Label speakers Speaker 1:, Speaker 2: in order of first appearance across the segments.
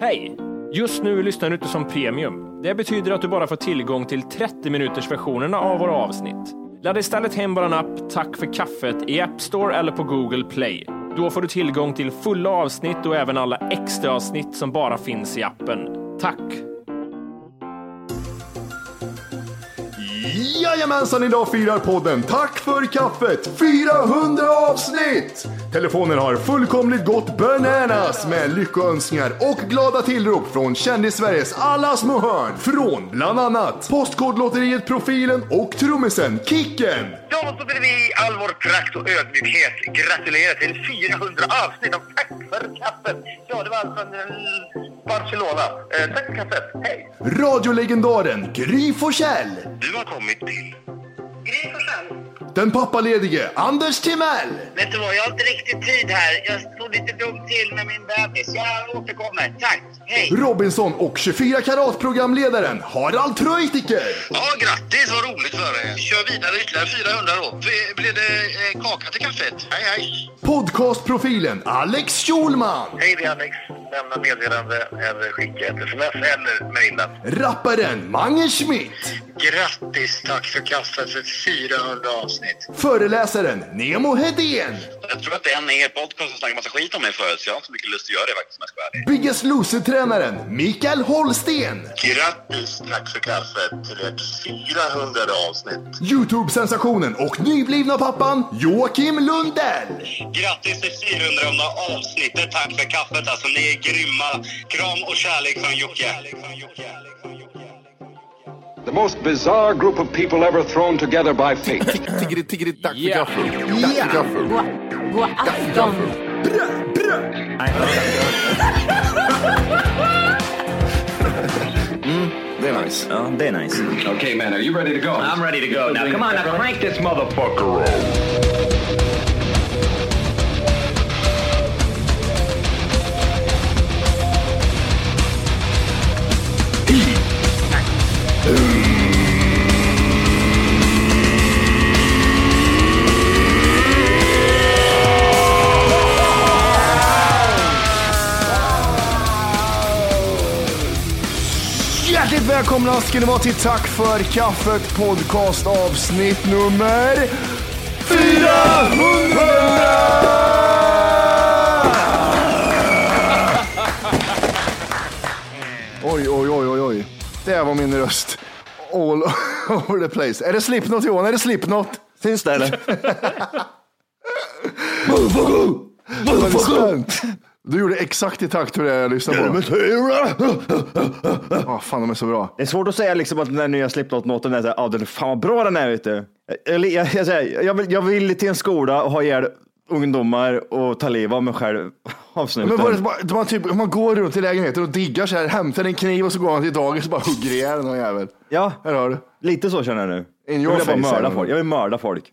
Speaker 1: Hej! Just nu lyssnar du inte som premium. Det betyder att du bara får tillgång till 30 minuters versionerna av våra avsnitt. Ladda istället hem vår app Tack för kaffet i App Store eller på Google Play. Då får du tillgång till fulla avsnitt och även alla extra avsnitt som bara finns i appen. Tack!
Speaker 2: Jajamensan, idag firar podden Tack för kaffet 400 avsnitt! Telefonen har fullkomligt gått bananas med lyckönskningar och glada tillrop från kändis-Sveriges alla små hörn. Från bland annat Postkodlotteriet, Profilen och trummisen Kicken.
Speaker 3: Jag måste bredvid all vår prakt och ödmjukhet gratulera till 400 avsnitt av Tack för kaffet. Ja, det var allt från eh, Barcelona. Eh, tack för kaffet. Hej!
Speaker 2: Radiolegendaren Gry Forssell.
Speaker 3: Du har kommit till... Gry
Speaker 2: Den pappaledige Anders Timell.
Speaker 3: Vet du vad, jag har inte riktigt tid här. Jag stod lite dumt till med min bebis. Jag återkommer. Tack. Hej!
Speaker 2: Robinson och 24 karat-programledaren Harald Treutiger.
Speaker 3: Ja, grattis. Vad roligt för er. Kör vidare ytterligare 400 då. Blir- Blir det eh, kaka till kaffet? Hej, hej!
Speaker 2: Podcastprofilen Alex Schulman.
Speaker 3: Hej, det är Alex. Lämna meddelande eller skicka ett sms eller mejla.
Speaker 2: Rapparen Mange Schmidt.
Speaker 3: Grattis, tack för kaffet för 400 avsnitt.
Speaker 2: Föreläsaren Nemo Hedén.
Speaker 3: Jag tror att det är en hel podcast som snackar massa skit om mig förut, så jag har inte så mycket lust att göra det faktiskt om jag ska vara ärlig.
Speaker 2: Biggest Loser-tränaren Mikael Holsten.
Speaker 3: Grattis, tack för kaffet till ert 400 avsnitt.
Speaker 2: Youtube-sensationen och nyblivna pappan Joakim Lundell.
Speaker 3: Grattis till 400 avsnittet, tack för kaffet alltså. Ni är grymma. Kram och kärlek från Jocke.
Speaker 4: The most bizarre group of people ever thrown together by fate.
Speaker 5: Tiggeri, tiggeri, tack för
Speaker 1: Yeah.
Speaker 5: gaffel. Tack för gaffel.
Speaker 6: God afton!
Speaker 5: Det är nice.
Speaker 7: Oh, they're nice.
Speaker 4: okay, man, are you ready to go?
Speaker 7: I'm ready to go. Now, come on, now crank this motherfucker up.
Speaker 2: Hjärtligt välkomna ska ni vara till Tack för kaffet podcast avsnitt nummer 400! Oj, oj, oj, oj, oj. Det var min röst. All over the place. Är det Slipknot Johan? Är det Slipknot?
Speaker 5: Syns det eller?
Speaker 2: Motherfucker! Motherfucker! Du gjorde exakt i takt hur det är jag lyssnade på. Ah, fan, de är så bra.
Speaker 7: Det är svårt att säga liksom att den där nya Slipknot-låten är såhär, ah, den, fan vad bra den är vet du. Jag, jag, jag, säger, jag, vill, jag vill till en skola och ha ihjäl ungdomar och ta livet av mig själv. Avsnuten.
Speaker 2: Men var det, bara- det var typ, man går runt i lägenheten och diggar så här, hämtar en kniv och så går man till dagis och bara hugger ihjäl någon jävel.
Speaker 7: Ja,
Speaker 2: Här har du.
Speaker 7: lite så känner jag nu. Jag
Speaker 2: In
Speaker 7: vill
Speaker 2: your
Speaker 7: bara
Speaker 2: face,
Speaker 7: mörda
Speaker 2: Simon.
Speaker 7: folk. Jag vill mörda folk.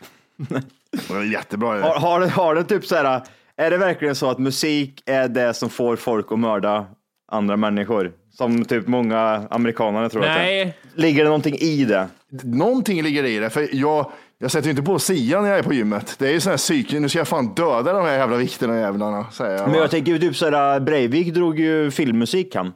Speaker 2: Det är jättebra. det
Speaker 7: Har,
Speaker 2: där.
Speaker 7: har, det- har det typ så här, är det verkligen så att musik är det som får folk att mörda andra människor? Som typ många amerikaner tror att
Speaker 1: Nej.
Speaker 7: det är. Ligger det någonting i det?
Speaker 2: Någonting ligger i det, för jag, jag sätter ju inte på sian när jag är på gymmet. Det är ju sån här psyke, nu ska jag fan döda de här jävla vikterna och jävlarna, säger jag.
Speaker 7: Men jag tänker ju typ såhär, Breivik drog ju filmmusik han.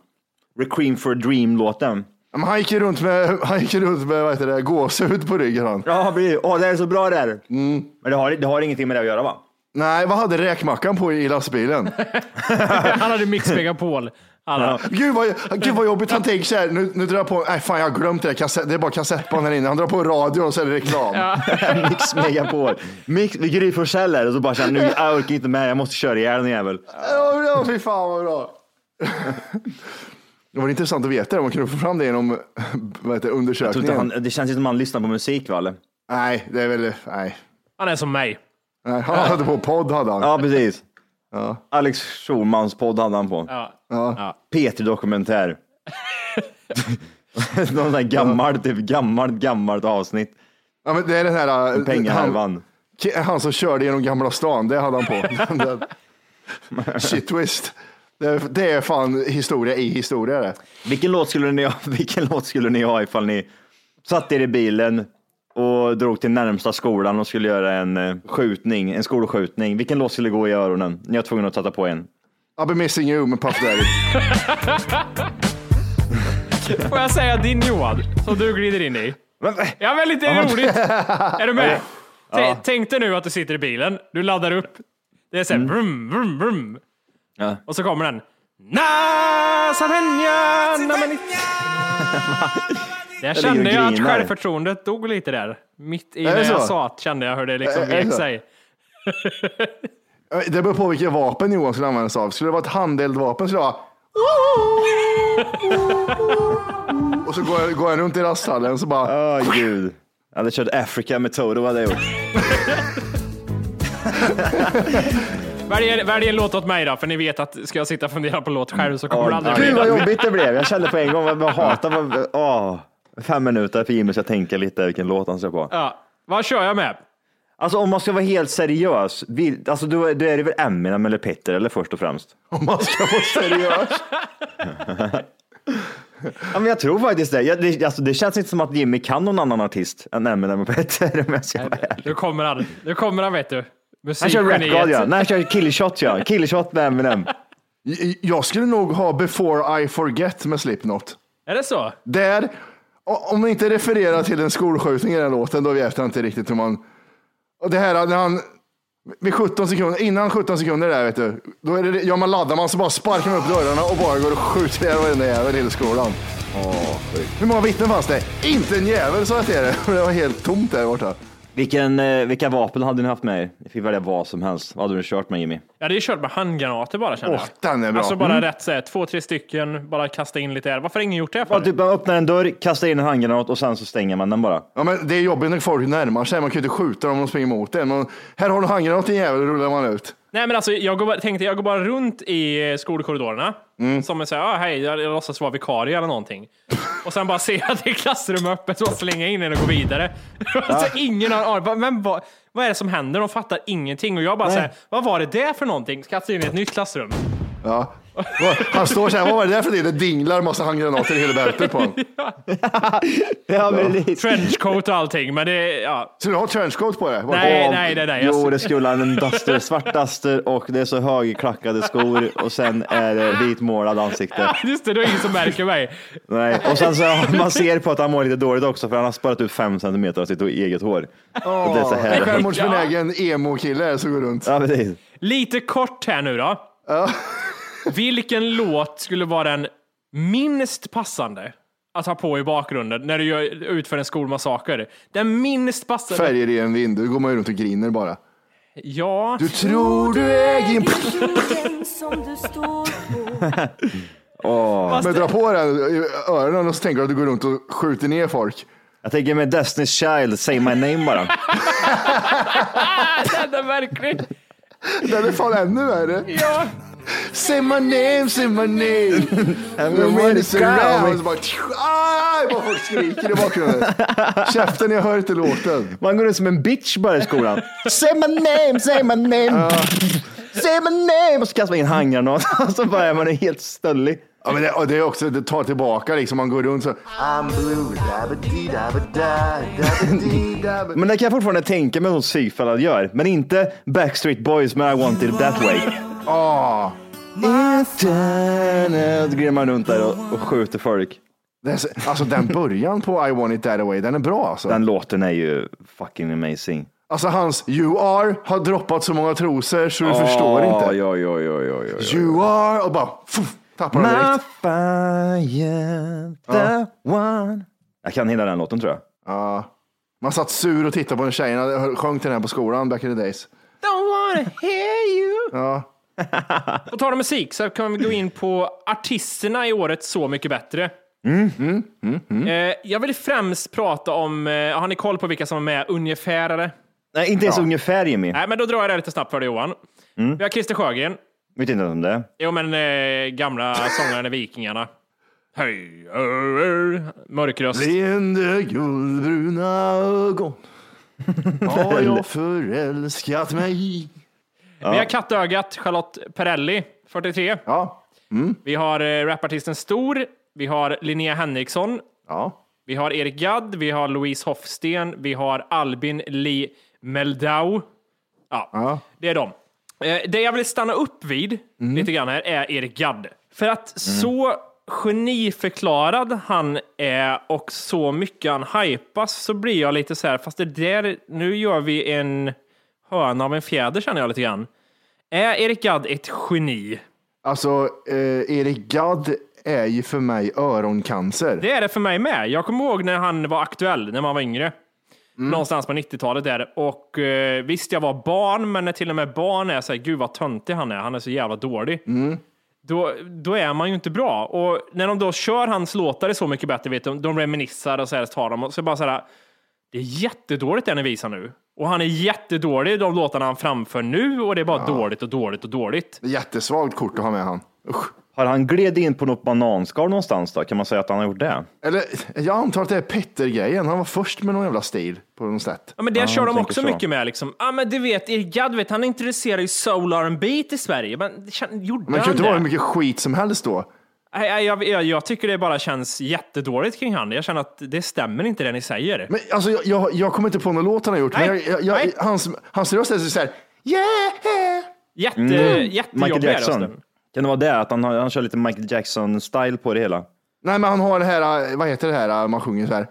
Speaker 7: Requiem for a Dream-låten.
Speaker 2: Men han gick ju runt med, han gick ju runt med vad heter det, gåshud på ryggen. Han.
Speaker 7: Ja, Mm. precis. Åh, det är så bra där. Men det har, det har ingenting med det att göra va?
Speaker 2: Nej, vad hade räkmackan på i lastbilen?
Speaker 1: Han hade Mix Megapol. Alla.
Speaker 2: Gud vad, gud vad jobbigt han tänker så här. Nu, nu drar jag på, nej fan jag har glömt det där kassett, det är bara kassettband här inne. Han drar på radio och så är det reklam.
Speaker 7: Mix Megapol. Mix, Gry Forssell är det, så bara känner nu, jag orkar inte med, jag måste köra ihjäl den jävel.
Speaker 2: Ja, bra, fy fan vad bra. Det var intressant att veta det, man kunde få fram det genom vad heter, det,
Speaker 7: Jag tror inte
Speaker 2: undersökningen.
Speaker 7: han, det känns inte som han lyssnar på musik, Valle.
Speaker 2: Nej, det är väl, nej.
Speaker 1: Han är som mig.
Speaker 2: nej. Han hade på podd hade han.
Speaker 7: Ja, precis. Alex Schulmans podd hade han på.
Speaker 1: Ja.
Speaker 7: P3 Dokumentär. Någon sån här gammalt, typ gammalt, gammalt avsnitt.
Speaker 2: Ja, men det är den här, äh,
Speaker 7: Pengahärvan.
Speaker 2: Ki- Han som körde genom Gamla stan, det hade han på. Den där- Shit twist. Det är, det är fan historia i historia det.
Speaker 7: Vilken låt skulle ni ha, vilken låt skulle ni ha ifall ni satt er i bilen och drog till närmsta skolan och skulle göra en eh, skjutning, en skolskjutning. Vilken låt skulle gå i öronen? Ni var tvungna att sätta på en.
Speaker 2: I'll be missing you med Puff Daddy.
Speaker 1: Får jag säga din Johan, som du glider in i? Ja, men lite roligt. Är du med? T- Tänk dig nu att du sitter i bilen, du laddar upp. Det är så här, vrum, vrum, vrum.
Speaker 7: Ja.
Speaker 1: Och så kommer den. Na, Savenja, na, men- Där kände
Speaker 7: ligger och
Speaker 1: jag att
Speaker 7: grinar.
Speaker 1: självförtroendet dog lite där. Mitt i
Speaker 2: Är det
Speaker 1: när jag
Speaker 2: så?
Speaker 1: sa att kände jag hur det liksom
Speaker 2: Är- är det
Speaker 1: vek
Speaker 2: så?
Speaker 1: sig.
Speaker 2: Eh, Det beror på vilka vapen Johan skulle använda sig av. Skulle det vara ett handeldvapen skulle jag vara... Och så går jag, går jag runt i rasthallen så bara...
Speaker 7: Åh gud. Jag hade kört Africa med Toto hade jag gjort.
Speaker 1: Välj, en- välj en låt åt mig då, för ni vet att ska jag sitta och fundera på låt själv så kommer det aldrig
Speaker 7: Åh,
Speaker 1: bli
Speaker 7: Gud vad
Speaker 1: den.
Speaker 7: jobbigt det blev. Jag kände på en gång, vad jag hatar, vad, åh. fem minuter för Jimmy ska tänka lite vilken låt han ska på.
Speaker 1: Ja. Vad kör jag med?
Speaker 7: Alltså om man ska vara helt seriös, vil, alltså, då, då är det väl Eminem eller Petter eller först och främst?
Speaker 2: Om man ska vara seriös.
Speaker 7: Ja, men jag tror faktiskt det. Jag, det, alltså, det känns inte som att Jimmy kan någon annan artist än Eminem och Petter om jag ska vara ärlig.
Speaker 1: Nu kommer han. Nu kommer han vet du.
Speaker 7: Han kör Rap God ja.
Speaker 1: Musikgeniet.
Speaker 7: Nej, han kör Killshot ja. Killshot med Eminem.
Speaker 2: J- Jag skulle nog ha Before I Forget med Slipknot.
Speaker 1: Är det så?
Speaker 2: Där, o- om man inte refererar till en skolskjutning i den låten, då vet jag inte riktigt hur man... Och det här när han... Vid 17 sekunder, innan 17 sekunder där vet du, då är det, ja man laddar man så bara sparkar man upp dörrarna och bara går och skjuter ihjäl varenda jävel i hela skolan. hur många vittnen fanns det? Inte en jävel sa jag till er. Det var helt tomt där borta.
Speaker 7: Vilken, eh, vilka vapen hade ni haft med er? Ni fick välja vad som helst. Vad hade du kört med Jimmy?
Speaker 1: Jag hade ju kört med handgranater bara känner
Speaker 2: Åh,
Speaker 1: jag.
Speaker 2: den är bra.
Speaker 1: Alltså bara
Speaker 2: Mm.
Speaker 1: rätt såhär, två, tre stycken, bara kasta in lite här. Varför har ingen gjort det
Speaker 7: Ja,
Speaker 1: förut?
Speaker 7: typ man öppnar en dörr, kastar in en handgranat och sen så stänger man den bara.
Speaker 2: Ja, men det är jobbigt när folk närmar sig. Man kan ju inte skjuta dem om de springer mot en. Men här har du handgranat din jävel, rullar man ut.
Speaker 1: Nej men alltså, jag går bara, tänkte jag går bara runt i eh, skolkorridorerna.
Speaker 2: Mm.
Speaker 1: Som en såhär, ah, hej, jag jag låtsas vara vikarie eller någonting. Och sen bara ser jag att det är klassrum öppet, så bara slänga in en och gå vidare. alltså, ingen har en aning. Bara, Men vad, vad är det som händer? De fattar ingenting. Och jag bara såhär, vad var det där för någonting? Kastar in i ett nytt klassrum.
Speaker 2: Ja. Han står så här, vad var det där för det? Det dinglar massa handgranater i hela bältet på honom.
Speaker 7: Ja, precis.
Speaker 1: Trenchcoat och allting, men det, ja.
Speaker 2: Så du har trenchcoat på dig?
Speaker 1: Nej, nej, nej, nej. Jag-
Speaker 7: Jo, det skulle han. En duster, svart duster och det är så högklackade skor och sen är det vitmålad ansikte.
Speaker 1: Just det, det är ingen som märker mig.
Speaker 7: Nej. Och sen så man ser på att han mår lite dåligt också för han har sparat ut fem centimeter av sitt eget hår. Och det är så
Speaker 2: En
Speaker 7: här.
Speaker 2: självmordsbenägen emo-kille som går runt.
Speaker 7: Ja, precis.
Speaker 1: Lite kort här nu då. Vilken låt skulle vara den minst passande att ha på i bakgrunden när du gör, utför en skolmassaker? Den minst passande?
Speaker 2: Färger i en vind, då går man ju runt och griner bara.
Speaker 1: Ja,
Speaker 2: Du tror du är din...
Speaker 1: fast
Speaker 2: Men dra på den i öronen och så tänker du att du går runt och skjuter ner folk.
Speaker 7: Jag tänker med Destiny's Child, say my name bara.
Speaker 1: den är verklig.
Speaker 2: Det är fan ännu värre.
Speaker 1: Ja.
Speaker 2: Say my name, say my name. The wind is around. Och så bara... Aj, bara folk skriker i bakgrunden. Käften, jag hör inte låten.
Speaker 7: Man går ut som en bitch bara i skolan. Say my name, say my name. Say my name! Och så kastar man in handgranat och så bara är man helt stöllig.
Speaker 2: Ja, men det, och det är också, det tar tillbaka liksom. Man går runt så. I'm blue, dabba-dee-dabba-da,
Speaker 7: Men det kan jag fortfarande tänka mig hos Sigfallad gör. Men inte Backstreet Boys med I want it that way.
Speaker 2: Ah.
Speaker 7: Internet. Då glimmar man runt där och, och skjuter folk.
Speaker 2: Det är så- Alltså den början på I want it that way, den är bra alltså.
Speaker 7: Den låten är ju fucking amazing.
Speaker 2: Alltså hans You are har droppat så många trosor så du förstår inte.
Speaker 7: Oj, oj, oj, oj, oj, oj.
Speaker 2: You are och bara fuff, Tappar dem
Speaker 7: My
Speaker 2: direkt.
Speaker 7: fire, the one. Jag kan hela den låten tror jag.
Speaker 2: Ja. Man satt sur och tittade på den tjejerna. Jag sjöng till den här på skolan back in the days.
Speaker 7: Don't wanna hear you.
Speaker 2: Ja.
Speaker 1: På tal om musik så kan vi gå in på artisterna i året Så mycket bättre. Eh, jag vill främst prata om, eh, har ni koll på vilka som är med ungefär? Eller?
Speaker 7: Nej, inte ens ungefär Jimmy.
Speaker 1: Nej, men då drar jag det lite snabbt för dig Johan. Vi har Christer Sjögren,
Speaker 7: Vet inte ens om det är.
Speaker 1: jo men eh, gamla sångaren i Vikingarna. Hej, ö, ö, mörkröst.
Speaker 2: Leende guldbruna ögon har jag förälskat mig i.
Speaker 1: Vi har Kattögat, Charlotte Perrelli, 43.
Speaker 2: Ja,
Speaker 1: Vi har eh, rapartisten Stor, vi har Linnea Henriksson,
Speaker 2: ja.
Speaker 1: vi har Erik Gadd, vi har Louise Hofsten, vi har Albin Lee Meldau. Ja, det är dem. Eh, Det jag vill stanna upp vid lite grann här är Erik Gadd. För att så geniförklarad han är och så mycket han hypas så blir jag lite så här, fast det där, nu gör vi en höna av en fjäder känner jag lite grann. Är Erik Gadd ett geni?
Speaker 2: Alltså, eh, Erik Gadd är ju för mig öroncancer.
Speaker 1: Det är det för mig med. Jag kommer ihåg när han var aktuell, när man var yngre. Någonstans på 90-talet där. Och eh, visst, jag var barn, men när till och med barn är så här, gud vad töntig han är, han är så jävla dålig. Då, då är man ju inte bra. Och när de då kör hans låtar är Så mycket bättre, vet du, de reminissar och så här tar de och så bara så här, det är jättedåligt det ni visar nu. Och han är jättedålig i de låtarna han framför nu och det är bara dåligt och dåligt och dåligt.
Speaker 2: Jättesvagt kort att ha med han. Usch.
Speaker 7: Har han gled in på något bananskal någonstans då? Kan man säga att han har gjort det?
Speaker 2: Eller, jag antar att det är Petter-grejen. Han var först med någon jävla stil på något sätt.
Speaker 1: Ja, men det
Speaker 7: Ja,
Speaker 1: kör
Speaker 7: jag
Speaker 1: de
Speaker 7: tänker
Speaker 1: också
Speaker 7: så.
Speaker 1: mycket med. Liksom. Ja, men du vet, Erik Gadd, vet, han är intresserad i soul R&B i Sverige, men det kän- gjorde
Speaker 2: Men det kan ju
Speaker 1: han
Speaker 2: inte vara hur
Speaker 1: det?
Speaker 2: mycket skit som helst då.
Speaker 1: Nej, nej, jag, jag, jag tycker det bara känns jättedåligt kring han. Jag känner att det stämmer inte det ni säger.
Speaker 2: Men alltså, jag, jag, jag kommer inte på någon låt han har gjort. men
Speaker 1: Nej,
Speaker 2: jag, jag, jag,
Speaker 1: nej.
Speaker 2: hans, hans röst är så här, yeah!
Speaker 1: Jätte,
Speaker 7: Mm. Michael
Speaker 2: Mm.
Speaker 1: Jättejobbig är
Speaker 7: Jackson.
Speaker 1: rösten.
Speaker 7: Kan det vara det? Att han, har, han kör lite Michael Jackson-style på det hela?
Speaker 2: Nej, men han har det här, äh, vad heter det här, man sjunger så här.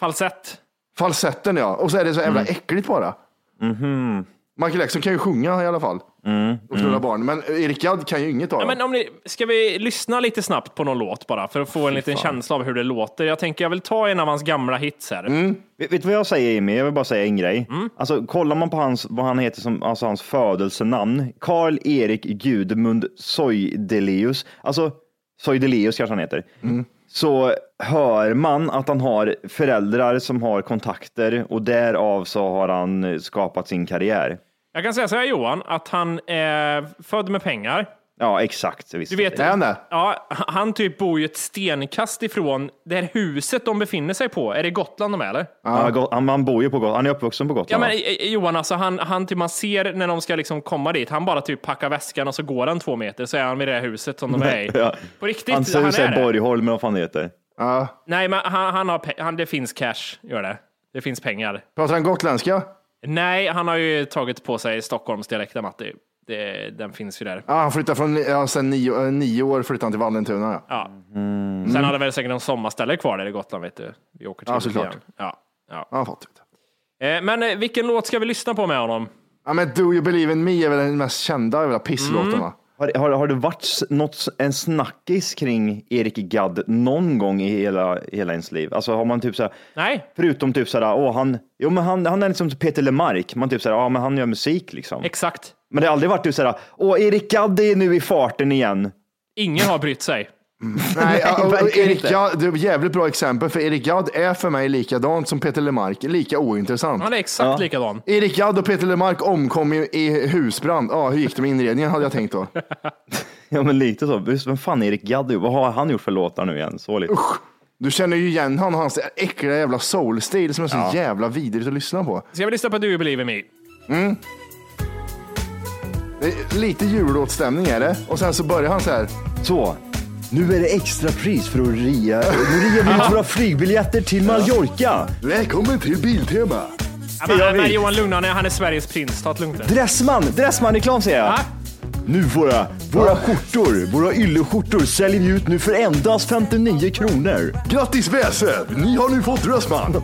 Speaker 1: Falsett.
Speaker 2: Falsetten ja, och så är det så jävla
Speaker 1: Mm.
Speaker 2: äckligt bara.
Speaker 1: Mhm.
Speaker 2: Michael Jackson kan ju sjunga i alla fall. Och knulla barn. Men äh, Erik Gadd kan ju inget av
Speaker 1: Mm, Ja,
Speaker 2: dem.
Speaker 1: men om ni, ska vi lyssna lite snabbt på någon låt bara för att få en liten känsla av hur det låter? Jag tänker jag vill ta en av hans gamla hits här.
Speaker 2: Mm.
Speaker 7: Vet vet du vad jag säger Jimmy? Jag vill bara säga en grej.
Speaker 1: Mm.
Speaker 7: Alltså, kollar man på hans, vad han heter som, alltså hans födelsenamn. Karl Erik Gudmund Sojdelius. Alltså, Sojdelius kanske han heter. Så hör man att han har föräldrar som har kontakter och därav så har han eh, skapat sin karriär.
Speaker 1: Jag kan säga så här Johan, att han är född med pengar.
Speaker 7: Ja, exakt. Visst.
Speaker 1: Du vet,
Speaker 2: Är han det?
Speaker 1: Ja, han typ bor ju ett stenkast ifrån där huset de befinner sig på. Är det Gotland de är eller?
Speaker 7: Han, har gått- han, han bor ju på Gotland. Han är uppvuxen på
Speaker 1: Ja,
Speaker 7: Gotland.
Speaker 1: men
Speaker 7: va?
Speaker 1: eh, eh, Johan, alltså, han, han typ, man ser när de ska liksom komma dit, han bara typ packar väskan och så går han två meter så är han vid det här huset som de är i.
Speaker 7: Ja.
Speaker 1: På riktigt,
Speaker 7: han
Speaker 1: han,
Speaker 7: säger
Speaker 1: är
Speaker 7: såhär
Speaker 1: det.
Speaker 7: Borgholm eller vad fan det heter.
Speaker 2: Ja.
Speaker 1: Nej, men han, han har, pe- han, det finns cash, gör det. Det finns pengar.
Speaker 2: Pratar han gotländska?
Speaker 1: Nej, han har ju tagit på sig Stockholmsdialekten, Matti. Det, den finns ju där.
Speaker 2: Ja, han flyttade från, ja, sen nio, eh, nio år flyttade han till Vallentuna. Ja.
Speaker 1: Ja. Sen hade väl säkert någon sommarställe kvar där i Gotland, vet du. Vi åker till
Speaker 2: Mm. Ja,
Speaker 1: det
Speaker 2: såklart.
Speaker 1: igen. Ja, ja.
Speaker 2: Ja, han fattar inte.
Speaker 1: Eh, Men eh, vilken låt ska vi lyssna på med honom?
Speaker 2: Ja, men Do You Believe In Me är väl den mest kända jävla pisslåten va?
Speaker 7: Har, har, har det varit s- något, s- en snackis kring Erik Gadd någon gång i hela, hela ens liv? Alltså har man typ såhär,
Speaker 1: Nej,
Speaker 7: förutom typ såhär, åh han, jo men han, han är liksom Peter Lemark, man typ såhär, ja men han gör musik liksom.
Speaker 1: exakt.
Speaker 7: Men det har aldrig varit typ såhär, åh Erik Gadd är nu i farten igen.
Speaker 1: Ingen har brytt sig.
Speaker 2: Nej, ja, och
Speaker 7: verkligen
Speaker 2: Erik
Speaker 7: inte.
Speaker 2: Gadd, det är ett jävligt bra exempel, för Erik Gadd är för mig likadant som Peter Lemark, lika ointressant.
Speaker 1: Han är exakt likadan.
Speaker 2: Erik Gadd och Peter Lemark omkom i, i husbrand. Ja, hur gick det med inredningen hade jag tänkt då.
Speaker 7: Ja men lite så, Just, vem fan är Erik Gadd nu? Vad har han gjort för låtar nu igen? Så lite.
Speaker 2: Du känner ju igen han och hans äckliga jävla soulstil som är så jävla vidrigt att lyssna på.
Speaker 1: Ska vi lyssna på Do You Believe In Me?
Speaker 2: Det är lite jullåtsstämning är det. Och sen så börjar han så här.
Speaker 7: Så. Nu är det extra pris för att ria. Nu riar vi ut våra flygbiljetter till Mallorca.
Speaker 2: Välkommen till Biltema.
Speaker 1: Ja, men,
Speaker 7: Jag
Speaker 1: men eh,
Speaker 7: vet.
Speaker 1: Johan, lugna ner. Han är Sveriges prins. Ta ett lugnt nu.
Speaker 7: Dressman, Dressman-reklam säger jag.
Speaker 1: Ja.
Speaker 7: Nu våra, våra skjortor, våra ylleskjortor säljer vi ut nu för endast 59 kronor.
Speaker 2: Grattis Väse! Ni har nu fått Rössman!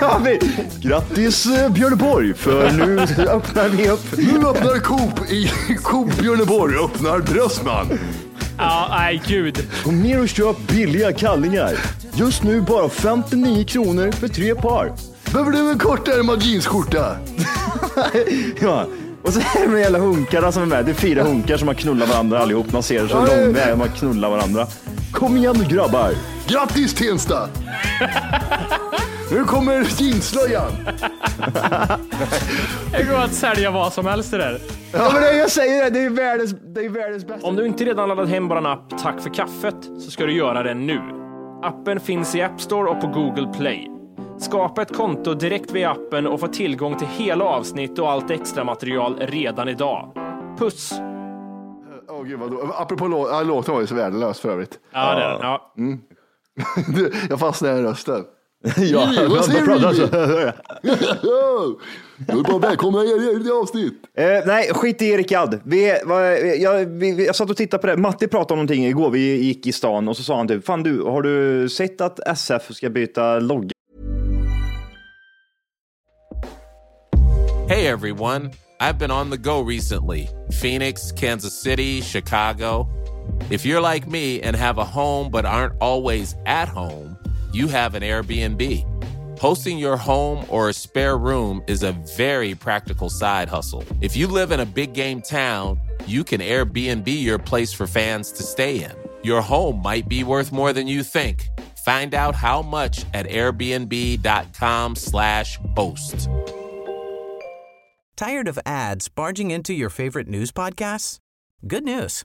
Speaker 7: Ja, vi... Grattis eh, Björneborg, för nu öppnar vi upp.
Speaker 2: Nu öppnar Coop i Coop Björneborg öppnar Brössman.
Speaker 1: Ja, nej gud.
Speaker 7: Kom ner och köp billiga kallingar. Just nu bara 59 kronor för tre par.
Speaker 2: Behöver du en kortärmad jeansskjorta?
Speaker 7: Ja. Och så är det de jävla hunkarna som är med. Det är fyra hunkar som har knullat varandra allihop. Man ser så
Speaker 2: Ja, det-
Speaker 7: lång väg man knullar varandra. Kom igen nu grabbar.
Speaker 2: Grattis Tensta! Nu kommer jeansslöjan.
Speaker 6: Det går att sälja vad som helst det där.
Speaker 7: Ja, men det jag säger det, det är världens, det är världens bästa.
Speaker 1: Om du inte redan laddat hem bara en app Tack för kaffet så ska du göra det nu. Appen finns i App Store och på Google Play. Skapa ett konto direkt via appen och få tillgång till hela avsnitt och allt extra material redan idag. Puss!
Speaker 2: Åh gud vadå? Apropå lå- ja, låten var ju så värdelös för övrigt.
Speaker 1: Ja, det är den. Ja.
Speaker 2: Du, Jag fastnade i rösten.
Speaker 7: Ja,
Speaker 2: Vad
Speaker 7: vad
Speaker 2: säger
Speaker 7: pratar
Speaker 2: du?
Speaker 7: så?
Speaker 2: Jag vill bara välkomna er i ett avsnitt.
Speaker 7: Eh, nej, skit i Rickard. Vi, vad- jag, vi, vi- jag satt och tittade på det. Matti pratade om någonting igår. Vi gick i stan och så sa han typ, fan du, har du sett att SF ska byta logga?
Speaker 8: Hey everyone, I've been on the go recently Phoenix, Kansas City, Chicago. If you're like me and have a home but aren't always at home, you have an Airbnb. Hosting your home or a spare room is a very practical side hustle. If you live in a big game town, you can Airbnb your place for fans to stay in. Your home might be worth more than you think. Find out how much at airbnb.com slash boast.
Speaker 9: Tired of ads barging into your favorite news podcasts? Good news.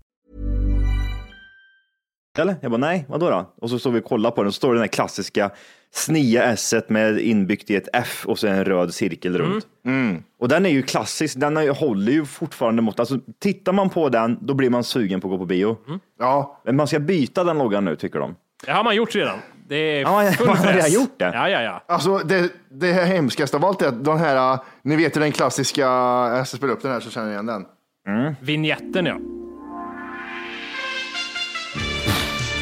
Speaker 7: Eller? Jag bara, nej, vadå då? Och så står vi och kollar på den. Så står det den här klassiska snia s med inbyggt i ett F och så en röd cirkel runt. Och den är ju klassisk. Den har ju- håller ju fortfarande mot. Alltså, tittar man på den, då blir man sugen på att gå på bio.
Speaker 2: Ja,
Speaker 7: Men man ska byta den loggan nu, tycker de.
Speaker 6: Det har man gjort redan. Det är
Speaker 7: Ja,
Speaker 6: full
Speaker 7: man har
Speaker 6: press.
Speaker 7: redan gjort det.
Speaker 6: Ja, ja, ja.
Speaker 2: alltså det, det här hemskaste av allt är att den här, äh, ni vet ju den klassiska, äh, jag ska spela upp den här så känner ni igen den.
Speaker 6: Vignetten ja.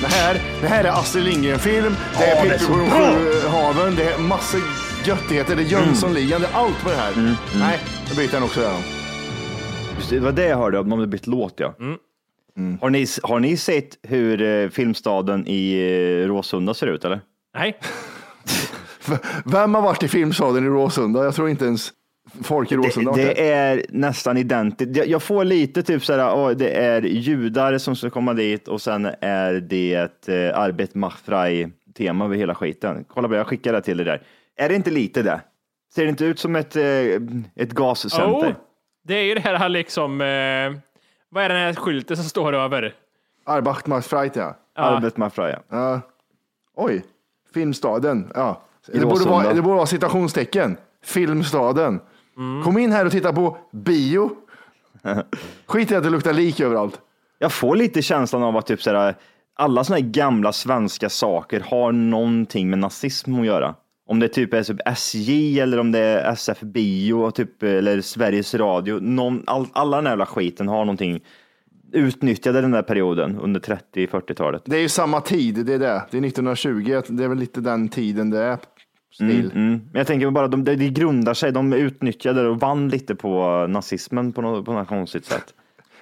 Speaker 2: Det här, det här är Astrid Lindgren-film, det är Pippi på de sju haven, det är massa göttigheter, det är Jönssonligan, det är allt med det här. Nej, jag byter den också redan.
Speaker 7: Just Det det var det jag hörde, om de hade bytt låt ja. Mm. Har, ni, har ni sett hur eh, Filmstaden i eh, Råsunda ser ut eller?
Speaker 6: Nej,
Speaker 2: Vem har varit i filmstaden i Råsunda? Jag tror inte ens folk i Råsunda har
Speaker 7: det,
Speaker 2: varit där.
Speaker 7: det är nästan identiskt. Jag- Jag får lite typ så här, åh, det är judar som ska komma dit och sen är det ett eh, Arbet macht frei tema över hela skiten. Kolla på det, jag skickar det till er där. Är det inte lite det? Ser det inte ut som ett, eh, ett gascenter?
Speaker 6: Jo. det är ju det här liksom. Eh, vad är den här skylten som står över?
Speaker 2: Arbeitmarsfreit ja.
Speaker 7: Arbet macht frei. ja.
Speaker 2: Ja. Oj, Filmstaden. Ja. Det, borde
Speaker 7: Råsunda.
Speaker 2: vara, det borde vara citationstecken. Filmstaden.
Speaker 7: Mm.
Speaker 2: Kom in här och titta på bio. Skit i att det luktar lik överallt.
Speaker 7: Jag får lite känslan av att typ så här, alla såna här gamla svenska saker har någonting med nazism att göra. Om det typ är typ SJ eller om det är SF Bio och typ, eller Sveriges Radio. Någon, all, alla den här jävla skiten har någonting. Utnyttjade den där perioden under 30-40-talet.
Speaker 2: Det är ju samma tid, det är det. Det är 1920, det är väl lite den tiden det är. Stil.
Speaker 7: Mm. Men jag tänker bara, de, det det grundar sig, de utnyttjade och vann lite på nazismen på något, på något konstigt sätt.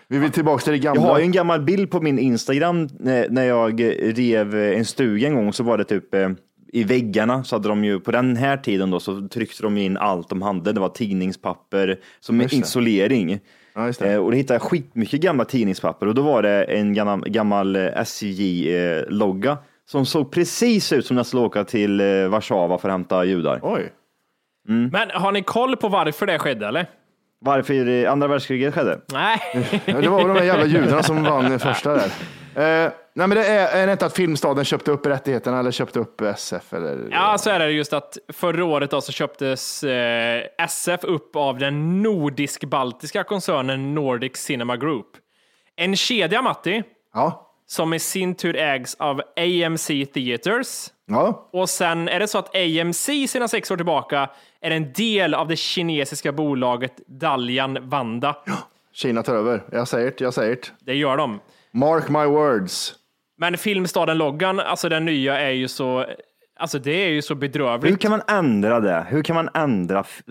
Speaker 2: Vi vill tillbaka till det gamla.
Speaker 7: Jag har ju en gammal bild på min Instagram eh, när när jag rev eh, en stuga en gång så var det typ eh, i väggarna så hade de ju på den här tiden då så tryckte de ju in allt de hade. Det var tidningspapper som
Speaker 2: Just det.
Speaker 7: isolering.
Speaker 2: Ja, just det.
Speaker 7: Eh, och det hittade jag skitmycket gamla tidningspapper och då var det en gammal, gammal eh, SJ-logga eh, som såg precis ut som när jag skulle åka till eh, Warszawa för att hämta judar.
Speaker 2: Oj.
Speaker 7: Mm.
Speaker 6: Men har ni koll på varför det skedde eller?
Speaker 7: Varför eh, andra världskriget skedde?
Speaker 6: Nej,
Speaker 2: Ja, Det var väl de där jävla judarna som vann den första där. Eh, Nej, men det är, är det inte att Filmstaden köpte upp rättigheterna eller köpte upp SF? Eller?
Speaker 1: Ja, så är det just att förra året då så köptes eh, SF upp av den nordisk-baltiska koncernen Nordic Cinema Group. En kedja, Matti,
Speaker 2: Ja.
Speaker 1: som i sin tur ägs av AMC Theaters.
Speaker 2: Ja.
Speaker 1: Och sen är det så att AMC sedan sex år tillbaka är en del av det kinesiska bolaget Dalian Wanda.
Speaker 2: Kina tar över. Jag säger det, jag säger det.
Speaker 1: Det gör de.
Speaker 2: Mark my words.
Speaker 1: Men Filmstaden-loggan, alltså den nya, är ju så... Alltså det är ju så bedrövligt.
Speaker 7: Hur kan man ändra det? Hur kan man ändra? f-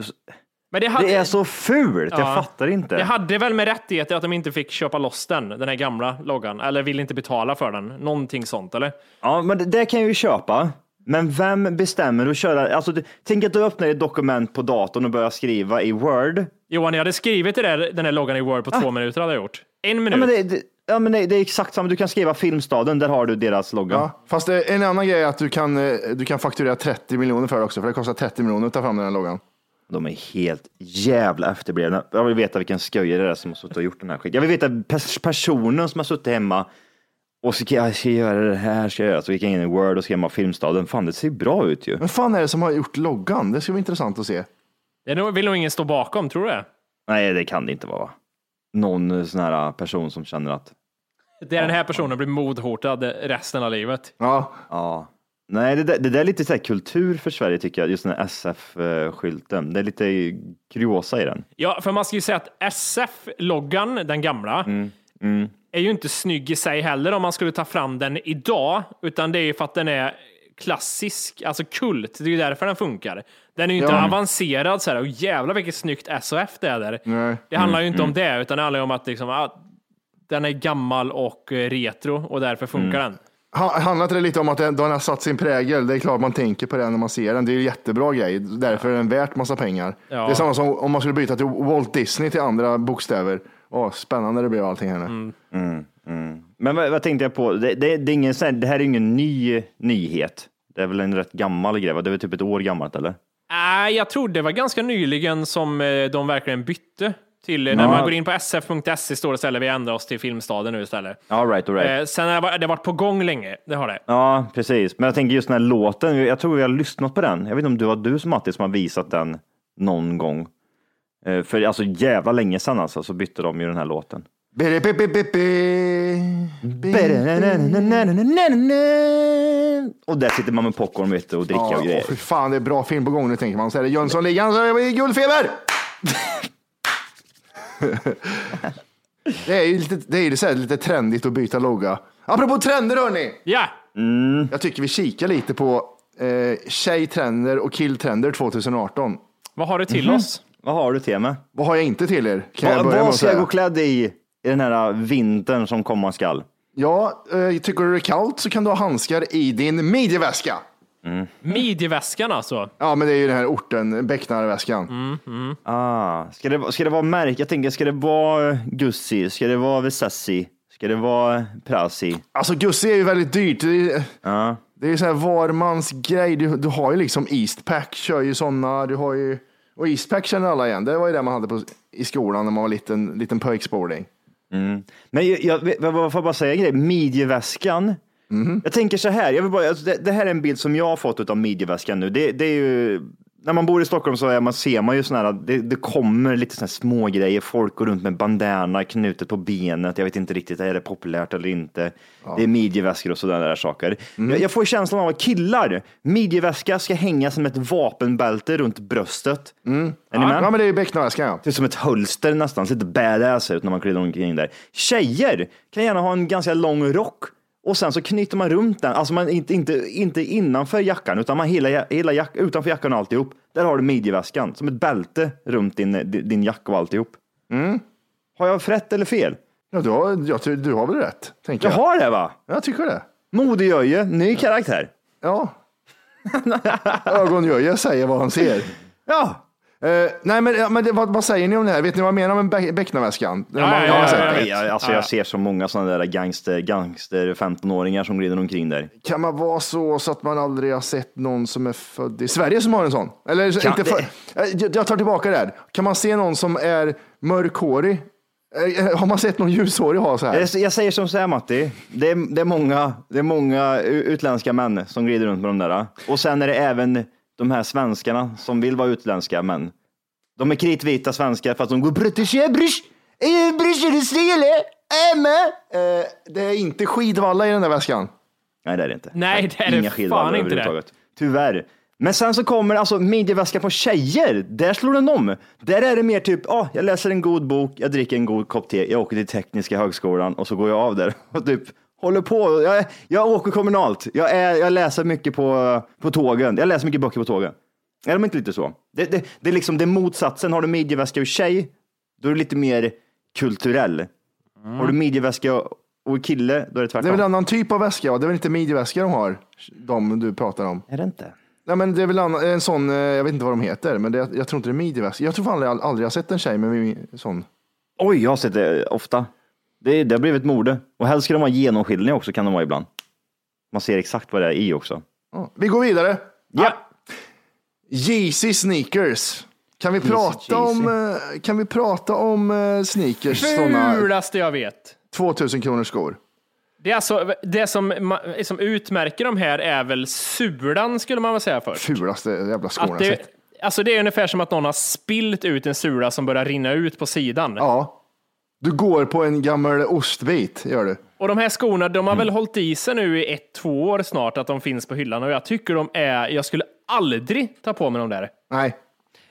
Speaker 1: Men det,
Speaker 7: Det är så fult.
Speaker 1: Ja.
Speaker 7: Jag fattar inte.
Speaker 1: Det hade väl med rättigheter att de inte fick köpa loss den, den här gamla loggan, eller ville inte betala för den. Någonting sånt, eller?
Speaker 7: Ja, men det, det kan jag ju köpa. Men vem bestämmer att köra? Alltså, det- tänk att du öppnar ett dokument på datorn och börjar skriva i Word.
Speaker 1: Johan, jag hade skrivit det där, den här loggan i Word på två minuter, hade jag gjort. En minut.
Speaker 7: Ah. Ja, men det, det, ja, men det, det är exakt samma. Du kan skriva Filmstaden, där har du deras logga.
Speaker 2: Ja. Fast eh, en annan grej är att du kan, eh, du kan fakturera 30 miljoner för det också, för det kostar 30 miljoner att ta fram den här loggan.
Speaker 7: De är helt jävla efterblivna. Jag vill veta vilken sköjare det är som har suttit och gjort den här skiten. Jag vill veta pers- personen som har suttit hemma och ska jag ska göra det här, ska jag göra. Så gick jag in i Word och skrev man Filmstaden. Fan, det ser bra ut ju.
Speaker 2: Vem fan är det som har gjort loggan? Det ska bli intressant att se.
Speaker 1: Det är nog- vill nog ingen stå bakom, tror du det?
Speaker 7: Nej, det kan det inte vara. Någon eh, sån här person som känner att
Speaker 1: Det är den här personen blir modhotad resten av livet.
Speaker 2: Ja,
Speaker 7: Ja. Nej, det där, det där är lite så här kultur för Sverige tycker jag, just den här SF-skylten. Det är lite kuriosa i den.
Speaker 1: Ja, för man ska ju säga att SF-loggan, den gamla,
Speaker 2: Mm,
Speaker 1: är ju inte snygg i sig heller om man skulle ta fram den idag, utan det är ju för att den är klassisk, alltså kult. Det är ju därför den funkar. Den är ju inte
Speaker 2: Ja.
Speaker 1: avancerad så här, och jävlar vilket snyggt SOF det är där.
Speaker 2: Nej. Mm,
Speaker 1: Det handlar ju inte om det, utan det handlar ju om att liksom, ah, den är gammal och eh, retro och därför funkar
Speaker 2: Mm.
Speaker 1: den.
Speaker 2: Ha- Handlar inte det lite om att den, den har satt sin prägel? Det är klart man tänker på den när man ser den. Det är ju en jättebra grej. Därför är den värt massa pengar.
Speaker 1: Ja.
Speaker 2: Det är samma som om man skulle byta till Walt Disney till andra bokstäver. Åh, spännande det blev allting här nu.
Speaker 7: Men vad, vad tänkte jag på? Det, det, det, är ingen, sån här- det här är ingen ny nyhet. Det är väl en rätt gammal grej, va? Det är väl typ ett år gammalt eller?
Speaker 1: Nej, jag tror det var ganska nyligen som eh, de verkligen bytte till, eh, när man går in på sf.se står det istället, vi ändrar oss till Filmstaden nu istället.
Speaker 7: All right, all right.
Speaker 1: Eh, sen har det varit- det har varit på gång länge, det har det.
Speaker 7: Ja, precis. Men jag tänker just den här låten. Jag tror vi har lyssnat på den. Jag vet inte om det var du som Matti som har visat den någon gång. Eh, För alltså jävla länge sedan alltså, så bytte de ju den här låten.
Speaker 2: Bidi, bi, bi, bi, bi.
Speaker 7: Och där sitter man med popcorn vet du, och dricker
Speaker 2: Ja,
Speaker 7: och
Speaker 2: åh,
Speaker 7: grejer.
Speaker 2: fy fan, det är bra film på gång nu tänker man. Så är det Jönssonligan så är vi i guldfeber! det är ju lite, det är ju så här, lite trendigt att byta logga. Apropå trender hörni!
Speaker 1: Ja,
Speaker 2: Jag tycker vi kikar lite på eh, tjejtrender och killtrender 2018.
Speaker 1: vad har du till
Speaker 2: Mhm.
Speaker 1: oss?
Speaker 7: Vad har du till mig?
Speaker 2: Vad har jag inte till er? Kan jag
Speaker 7: Vad,
Speaker 2: börja med
Speaker 7: vad
Speaker 2: att
Speaker 7: ska jag gå
Speaker 2: säga?
Speaker 7: klädd i i den här vintern som komma skall?
Speaker 2: Ja, eh, tycker du det är kallt så kan du ha handskar i din midjeväska.
Speaker 1: Midjeväskan alltså.
Speaker 2: Ja, men det är ju den här orten, Bäcknarväskan.
Speaker 7: Mm. Ah, ska, det, ska det vara märke? Jag tänker, ska det vara Gussi? Ska det vara Vesassi? Ska det vara Prassi?
Speaker 2: Alltså Gussi är ju väldigt dyrt. Det är,
Speaker 7: Ja.
Speaker 2: det är så här varmans grej. Du, du har ju liksom Eastpack, kör ju sådana. Du har ju, och Eastpack känner alla igen. Det var ju det man hade på, i skolan när man var liten, liten pojkspolning.
Speaker 7: Men jag, jag, jag, jag får bara säga en grej. Midjeväskan.
Speaker 2: Mhm.
Speaker 7: Jag tänker så här. Jag vill bara, alltså, det, det här är en bild som jag har fått av midjeväskan nu. Det, det är ju, när man bor i Stockholm så är man, ser man ju sådana här, det, det kommer lite sådana här små grejer. Folk går runt med bandana knutet på benet. Jag vet inte riktigt, är det populärt eller inte? Det är midjeväskor och sådana där saker.
Speaker 2: Mm.
Speaker 7: Jag, jag får känslan av att killar, midjeväska ska hänga som ett vapenbälte runt bröstet. Är ni med?
Speaker 2: Mm. Ja, men det är ju Bäcknarväskan ja.
Speaker 7: Det är som ett hölster nästan, ser lite badass ut när man glider omkring där. Tjejer kan gärna ha en ganska lång rock och sen så knyter man runt den, alltså man inte, inte, inte innanför jackan utan man hela, hela jack, utanför jackan och alltihop. Där har du midjeväskan som ett bälte runt din, din jacka och alltihop.
Speaker 1: Mm.
Speaker 7: Har jag rätt eller fel?
Speaker 2: ja du, har, jag, ty- du har väl rätt, tänker
Speaker 7: Jag
Speaker 2: jag.
Speaker 7: har det va?
Speaker 2: Jag tycker det.
Speaker 7: Modejöje, ny karaktär.
Speaker 2: Ja. Ögonjöje säger vad han ser.
Speaker 7: Ja,
Speaker 2: Eh, nej, men, ja, men det, vad, vad säger ni om det här? Vet ni vad jag menar med Bä- Bäcknarväskan? Man- man har
Speaker 1: ja,
Speaker 2: sett
Speaker 1: ja,
Speaker 2: det.
Speaker 7: Nej, jag, alltså jag ser så många sådana där gangster, gangster 15-åringar som glider omkring där.
Speaker 2: Kan man vara så, så att man aldrig har sett någon som är född i Sverige som har en sån? Eller,
Speaker 7: Kan
Speaker 2: inte
Speaker 7: det-
Speaker 2: för, Eh, jag, jag tar tillbaka det här. Kan man se någon som är mörkhårig Eh, Har man sett någon ljushårig ha så här?
Speaker 7: Jag, jag säger som så här Matti, det är, det, är många, det är många u- utländska män som glider runt med de där. Och sen är det även de här svenskarna som vill vara utländska män. De är kritvita svenskar fast de går british, yeah, british, eh, british, är det stille, eh, men."
Speaker 2: Eh, Det är inte skidvalla i den där väskan.
Speaker 7: Nej det är det inte.
Speaker 1: Nej, det är det
Speaker 7: Inga skidvallar
Speaker 1: fan inte det.
Speaker 7: överhuvudtaget. Tyvärr. Men sen så kommer alltså midjeväska på tjejer. Där slår den om. Där är det mer typ, ah, jag läser en god bok, jag dricker en god kopp te, jag åker till Tekniska högskolan och så går jag av där och typ håller på. Jag, jag åker kommunalt. Jag, är, jag läser mycket på, på tågen. Jag läser mycket böcker på tågen. Är de inte lite så? Det, det, det är liksom det är motsatsen. Har du midjeväska och tjej, då är du lite mer kulturell. Har du midjeväska och kille, då är det tvärtom.
Speaker 2: Det är väl en annan typ av väska? va? Det är väl inte midjeväska de har? De du pratar om.
Speaker 7: Är det inte?
Speaker 2: Nej, men det är väl annan, en sån, eh, jag vet inte vad de heter, men det, jag tror inte det är midjeväska. Jag tror fan aldrig, aldrig jag har sett en tjej med mi- sån.
Speaker 7: Oj, jag har sett det ofta. Det, det har blivit ett mode. Och helst ska de vara genomskinliga också kan de vara ibland. Man ser exakt vad det är i också.
Speaker 2: Ja. Vi går vidare.
Speaker 7: Ja,
Speaker 2: Yeezy sneakers. Kan vi, prata om, eh, kan vi prata om eh, sneakers? Såna
Speaker 1: Fulaste jag vet.
Speaker 2: 2000 kronors skor.
Speaker 1: Det, är alltså, det som, ma- som utmärker de här är väl sulan, skulle man väl säga först.
Speaker 2: Fulaste jävla skorna
Speaker 1: Att
Speaker 2: jag
Speaker 1: det,
Speaker 2: sett.
Speaker 1: alltså det är ungefär som att någon har spilt ut en sula som börjar rinna ut på sidan.
Speaker 2: Ja. Du går på en gammal ostbit, gör du.
Speaker 1: Och de här skorna, de har
Speaker 2: Mm.
Speaker 1: väl hållit i sig nu i ett, två år snart, att de finns på hyllan. Och jag tycker de är, jag skulle aldrig ta på mig de där.
Speaker 2: Nej,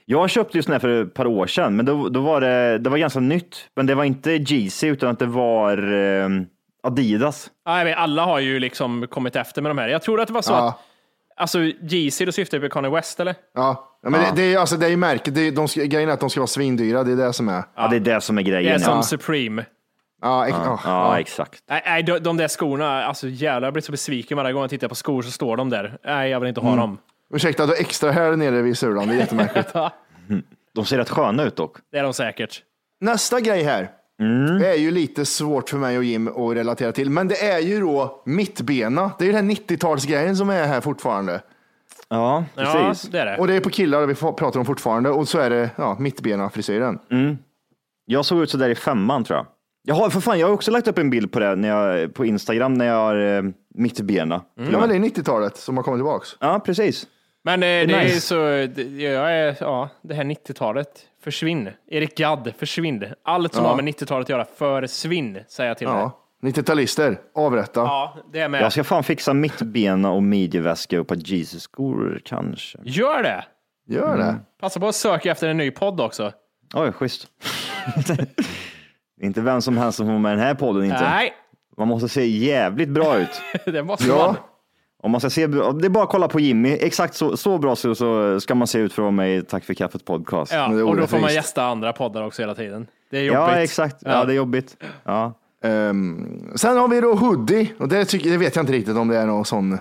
Speaker 7: jag köpte ju sån här för ett par år sedan, men då, då var det, det var ganska nytt. Men det var inte Yeezy utan att det var eh, Adidas.
Speaker 1: Nej, men alla har ju liksom kommit efter med de här. Jag tror att det var så
Speaker 2: Ja.
Speaker 1: att, alltså Yeezy, då syftar jag på Kanye West eller?
Speaker 2: Ja, ja men Det, det är ju alltså, det är ju märket. Det är, de, ska- grejen är att de ska vara svindyra. Det är det som är.
Speaker 7: Ja, det är det som är
Speaker 1: Det är
Speaker 7: grejen.
Speaker 1: som Supreme.
Speaker 2: Ja, ex-
Speaker 7: ja.
Speaker 2: ja.
Speaker 7: ja, exakt.
Speaker 1: Nej, nej de, de där skorna, alltså jävlar, jag blir så besviken varje gång jag tittar på skor så står de där. Nej, jag vill inte ha
Speaker 2: Mm.
Speaker 1: dem.
Speaker 2: Ursäkta, du har extra här nere vid sulan. Det är jättemärkligt.
Speaker 7: De ser rätt sköna ut dock.
Speaker 1: Det är de säkert.
Speaker 2: Nästa grej här.
Speaker 1: Mm.
Speaker 2: Det är ju lite svårt för mig och Jim att relatera till, men det är ju då mittbena. Det är ju den här 90-talsgrejen som är här fortfarande.
Speaker 7: Ja,
Speaker 1: Ja,
Speaker 7: precis.
Speaker 1: det är det.
Speaker 2: Och det är på killar vi får- pratar om fortfarande och så är det ja, mittbena-frisyren.
Speaker 1: Mm.
Speaker 7: Jag såg ut sådär i femman tror jag. Jag har, för fan, jag har också lagt upp en bild på det när jag, på Instagram när jag har eh, mitt bena.
Speaker 2: Ja,
Speaker 1: Mm.
Speaker 2: men det är 90-talet som har kommit tillbaks.
Speaker 7: Ja, precis.
Speaker 1: Men eh, det är
Speaker 7: nice.
Speaker 1: så, det, jag är, ja, det här 90-talet, försvinn. Erik Gadd, försvinn. Allt som
Speaker 2: Ja.
Speaker 1: har med 90-talet att göra, försvinn, säger jag till dig.
Speaker 2: Ja. 90-talister, avrätta.
Speaker 1: Ja, det är med.
Speaker 7: Jag ska fan fixa mitt bena och midjeväska och på Jesus-skor kanske.
Speaker 1: Gör det!
Speaker 2: Gör det.
Speaker 1: Passa på att söka efter en ny podd också.
Speaker 7: Oj, schysst. inte vem som helst som får vara med i den här podden inte.
Speaker 1: Nej,
Speaker 7: Man måste se jävligt bra ut.
Speaker 1: det måste
Speaker 2: Ja,
Speaker 1: man.
Speaker 7: Om man ska se, det är bara att kolla på Jimmy. Exakt så, så bra så, så ska man se ut för att vara med i Tack för kaffet podcast.
Speaker 1: Ja,
Speaker 2: det är
Speaker 1: och då får man
Speaker 2: orättvist.
Speaker 1: gästa andra poddar också hela tiden. Det är jobbigt.
Speaker 7: Ja, exakt. Ja,
Speaker 1: Ja.
Speaker 7: det är jobbigt. Ja.
Speaker 1: Mm.
Speaker 2: Ehm, sen har vi då hoodie och det, tycker, det vet jag inte riktigt om det är någon sån.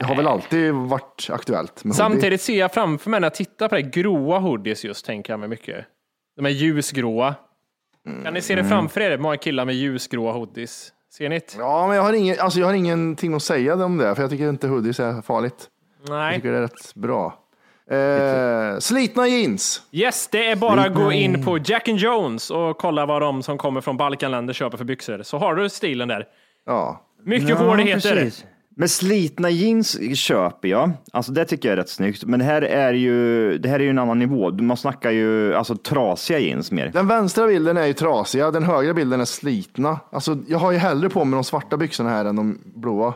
Speaker 2: Det har väl alltid varit aktuellt med hoodie.
Speaker 1: Mm. Samtidigt ser jag framför mig när jag tittar på det gråa hoodies just, tänker jag mig mycket. De är ljusgråa. Kan ni se det framför er? Många killar med ljusgråa hoodies. Ser ni det?
Speaker 2: Ja, men jag har, ingen, alltså jag har ingenting att säga om det, för jag tycker inte hoodies är farligt. Jag
Speaker 1: Nej.
Speaker 2: tycker det är rätt bra. Eh, slitna jeans.
Speaker 1: Yes, det är bara att gå in på Jack and Jones och kolla vad de som kommer från Balkanländer köper för byxor. Så har du stilen där.
Speaker 2: Ja.
Speaker 1: Mycket hårdheter.
Speaker 7: Men slitna jeans köper jag. Alltså det tycker jag är rätt snyggt. Men här är ju, det här är ju en annan nivå. Man snackar ju alltså trasiga jeans mer.
Speaker 2: Den vänstra bilden är ju trasiga, den högra bilden är slitna. Alltså, jag har ju hellre på mig de svarta byxorna här än de blåa.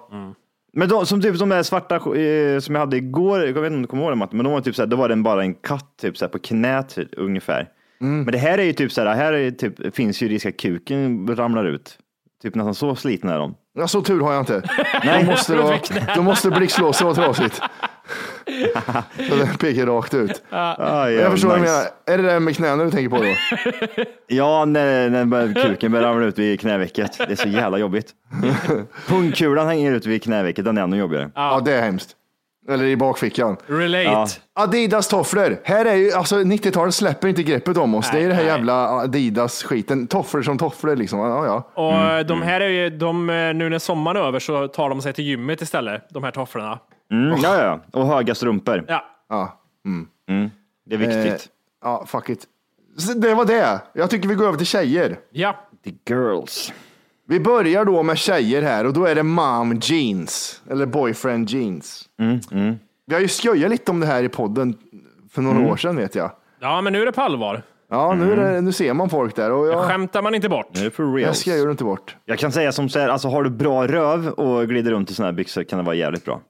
Speaker 7: Men de, som typ de där svarta eh, som jag hade igår, jag vet inte om du kommer ihåg det Matte, men de var typ såhär, då var den bara en katt typ såhär på knät typ, ungefär.
Speaker 2: Mm.
Speaker 7: Men det här är ju typ såhär, här är typ, finns ju risk att kuken ramlar ut. Typ nästan så slitna är de.
Speaker 2: Ja, så tur har jag inte. Nej, då måste, då, då måste blixtlåset vara trasigt. så den pekar rakt ut.
Speaker 7: Ah,
Speaker 2: jag förstår vad du
Speaker 7: nice.
Speaker 2: menar. Är det det där med knäna du tänker på då?
Speaker 7: Ja, när, när bör- kuken börjar ramla ut vid knävecket. Det är så jävla jobbigt. Pungkulan hänger ut vid knävecket, den är ännu jobbigare.
Speaker 2: Ja, det är hemskt. Eller i bakfickan.
Speaker 1: Relate.
Speaker 7: Ja.
Speaker 2: Adidas tofflor. Här är ju, alltså 90-talet släpper inte greppet om oss. det är det här
Speaker 1: nej.
Speaker 2: jävla Adidas-skiten. Tofflor som tofflor liksom. Ja, ja.
Speaker 1: Och de här är ju, de, eh, nu när sommaren är över så tar de sig till gymmet istället, de här tofflorna.
Speaker 2: Oh.
Speaker 7: Mm, ja, ja, och höga strumpor.
Speaker 1: Ja,
Speaker 2: Ja,
Speaker 7: Det är viktigt.
Speaker 2: Eh, ja fuck it. Så Det var det. Jag tycker vi går över till tjejer.
Speaker 1: Ja.
Speaker 7: The girls.
Speaker 2: Vi börjar då med tjejer här och då är det mom jeans. Eller boyfriend jeans.
Speaker 1: Mm,
Speaker 2: Vi har ju skojat lite om det här i podden för några
Speaker 1: Mm.
Speaker 2: år sedan vet jag.
Speaker 1: Ja, men nu är det på allvar.
Speaker 2: Ja,
Speaker 1: Mm.
Speaker 2: nu, är det, nu ser man folk där. Och jag,
Speaker 1: Skämtar man inte bort.
Speaker 7: Nu är det for real.
Speaker 2: jag skojar inte bort.
Speaker 7: Jag kan säga som så här, alltså har du bra röv och glider runt i såna här byxor kan det vara jävligt bra.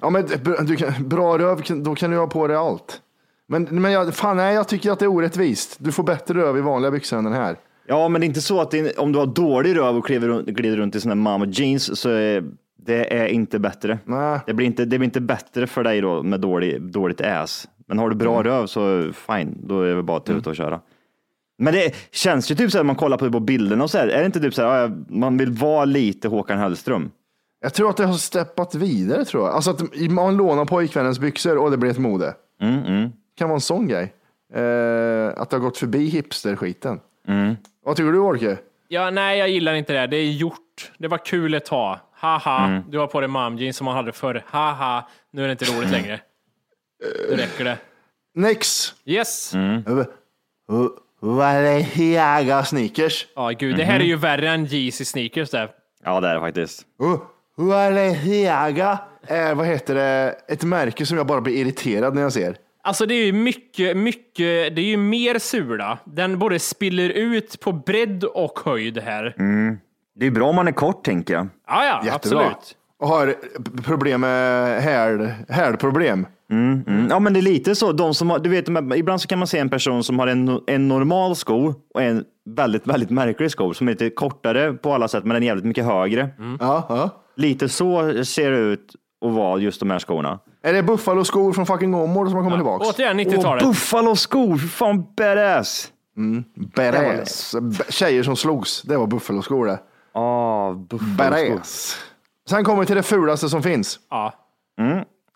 Speaker 2: Ja, men br- du kan, bra röv, kan- då kan du ha på dig allt. Men, men jag, fan, nej, jag tycker att det är orättvist. Du får bättre röv i vanliga byxor än den här.
Speaker 7: Ja, men det är inte så att det är, om du har dålig röv och kliver runt, glider runt i såna här mama jeans så är, det är inte bättre.
Speaker 2: Nej.
Speaker 7: Det blir inte, det blir inte bättre för dig då med dålig, dåligt ass. Men har du bra röv så fine, då är det bara att tuta och köra. Men det känns ju typ så här, man kollar på, på bilderna och så här, är det inte typ så här, ja, man vill vara lite Håkan Hellström?
Speaker 2: Jag tror att det har steppat vidare tror jag. Alltså att man lånar pojkvännens byxor och det blir ett mode.
Speaker 7: Mm, mm.
Speaker 2: kan vara en sån grej. Eh, att det har gått förbi hipsterskiten.
Speaker 7: Mm.
Speaker 2: Vad tycker du Orke?
Speaker 1: Ja, nej, jag gillar inte det. Det är gjort. Det var kul ett tag. Haha, du har på dig momjeans som man hade förr. Haha, nu är det inte roligt längre. Nu räcker det.
Speaker 2: Next.
Speaker 1: Yes.
Speaker 2: Eh, eh, Valenciaga sneakers.
Speaker 1: Ja, gud, det här är
Speaker 2: Mhm.
Speaker 1: ju värre än Yeezy sneakers där.
Speaker 7: Ja, det är det faktiskt.
Speaker 2: Eh, Valenciaga är, Eh, vad heter det, ett märke som jag bara blir irriterad när jag ser.
Speaker 1: Alltså det är ju mycket, mycket, det är ju mer sula. Den både spiller ut på bredd och höjd här.
Speaker 7: Det är bra om man är kort tänker jag.
Speaker 1: Ja, ja,
Speaker 2: Mm. Jättebra.
Speaker 1: absolut.
Speaker 2: Och har problem med häl, hälproblem.
Speaker 7: Mm. Ja, men det är lite så. De som har, du vet, de här- ibland så kan man se en person som har en, en normal sko och en väldigt, väldigt märklig sko som är lite kortare på alla sätt, men den är jävligt mycket högre.
Speaker 2: Ja, ja.
Speaker 7: Lite så ser det ut att vara just de här skorna.
Speaker 2: Är det buffaloskor från fucking Åmål som har kommit tillbaks?
Speaker 1: Återigen
Speaker 7: Och
Speaker 1: 90-talet.
Speaker 7: Buffalo-skor, fy fan badass!
Speaker 2: Beräs. B- Tjejer som slogs, det var buffaloskor det.
Speaker 7: Ah, Buffalo-skor.
Speaker 2: Beräs. Sen kommer vi till det fulaste som finns.
Speaker 1: Ja.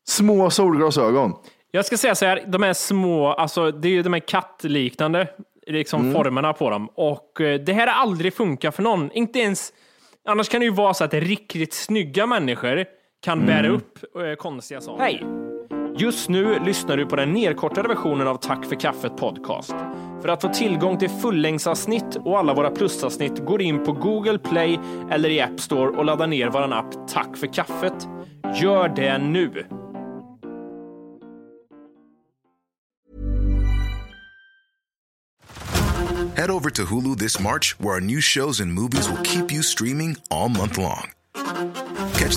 Speaker 2: Små solglasögon.
Speaker 1: Jag ska säga så här, de här små, alltså det är ju de här kattliknande liksom formerna på dem. Och eh, det här har aldrig funkat för någon. Inte ens, annars kan det ju vara så att riktigt snygga människor kan bära upp eh, konstiga saker. Hej! Just nu lyssnar du på den nedkortade versionen av Tack för kaffet podcast. För att få tillgång till fullängdsavsnitt och alla våra plusavsnitt går in på Google Play eller i App Store och laddar ner vår app Tack för kaffet. Gör det nu!
Speaker 3: Head over to Hulu this March, where our new shows and movies will keep you streaming all month long. Catch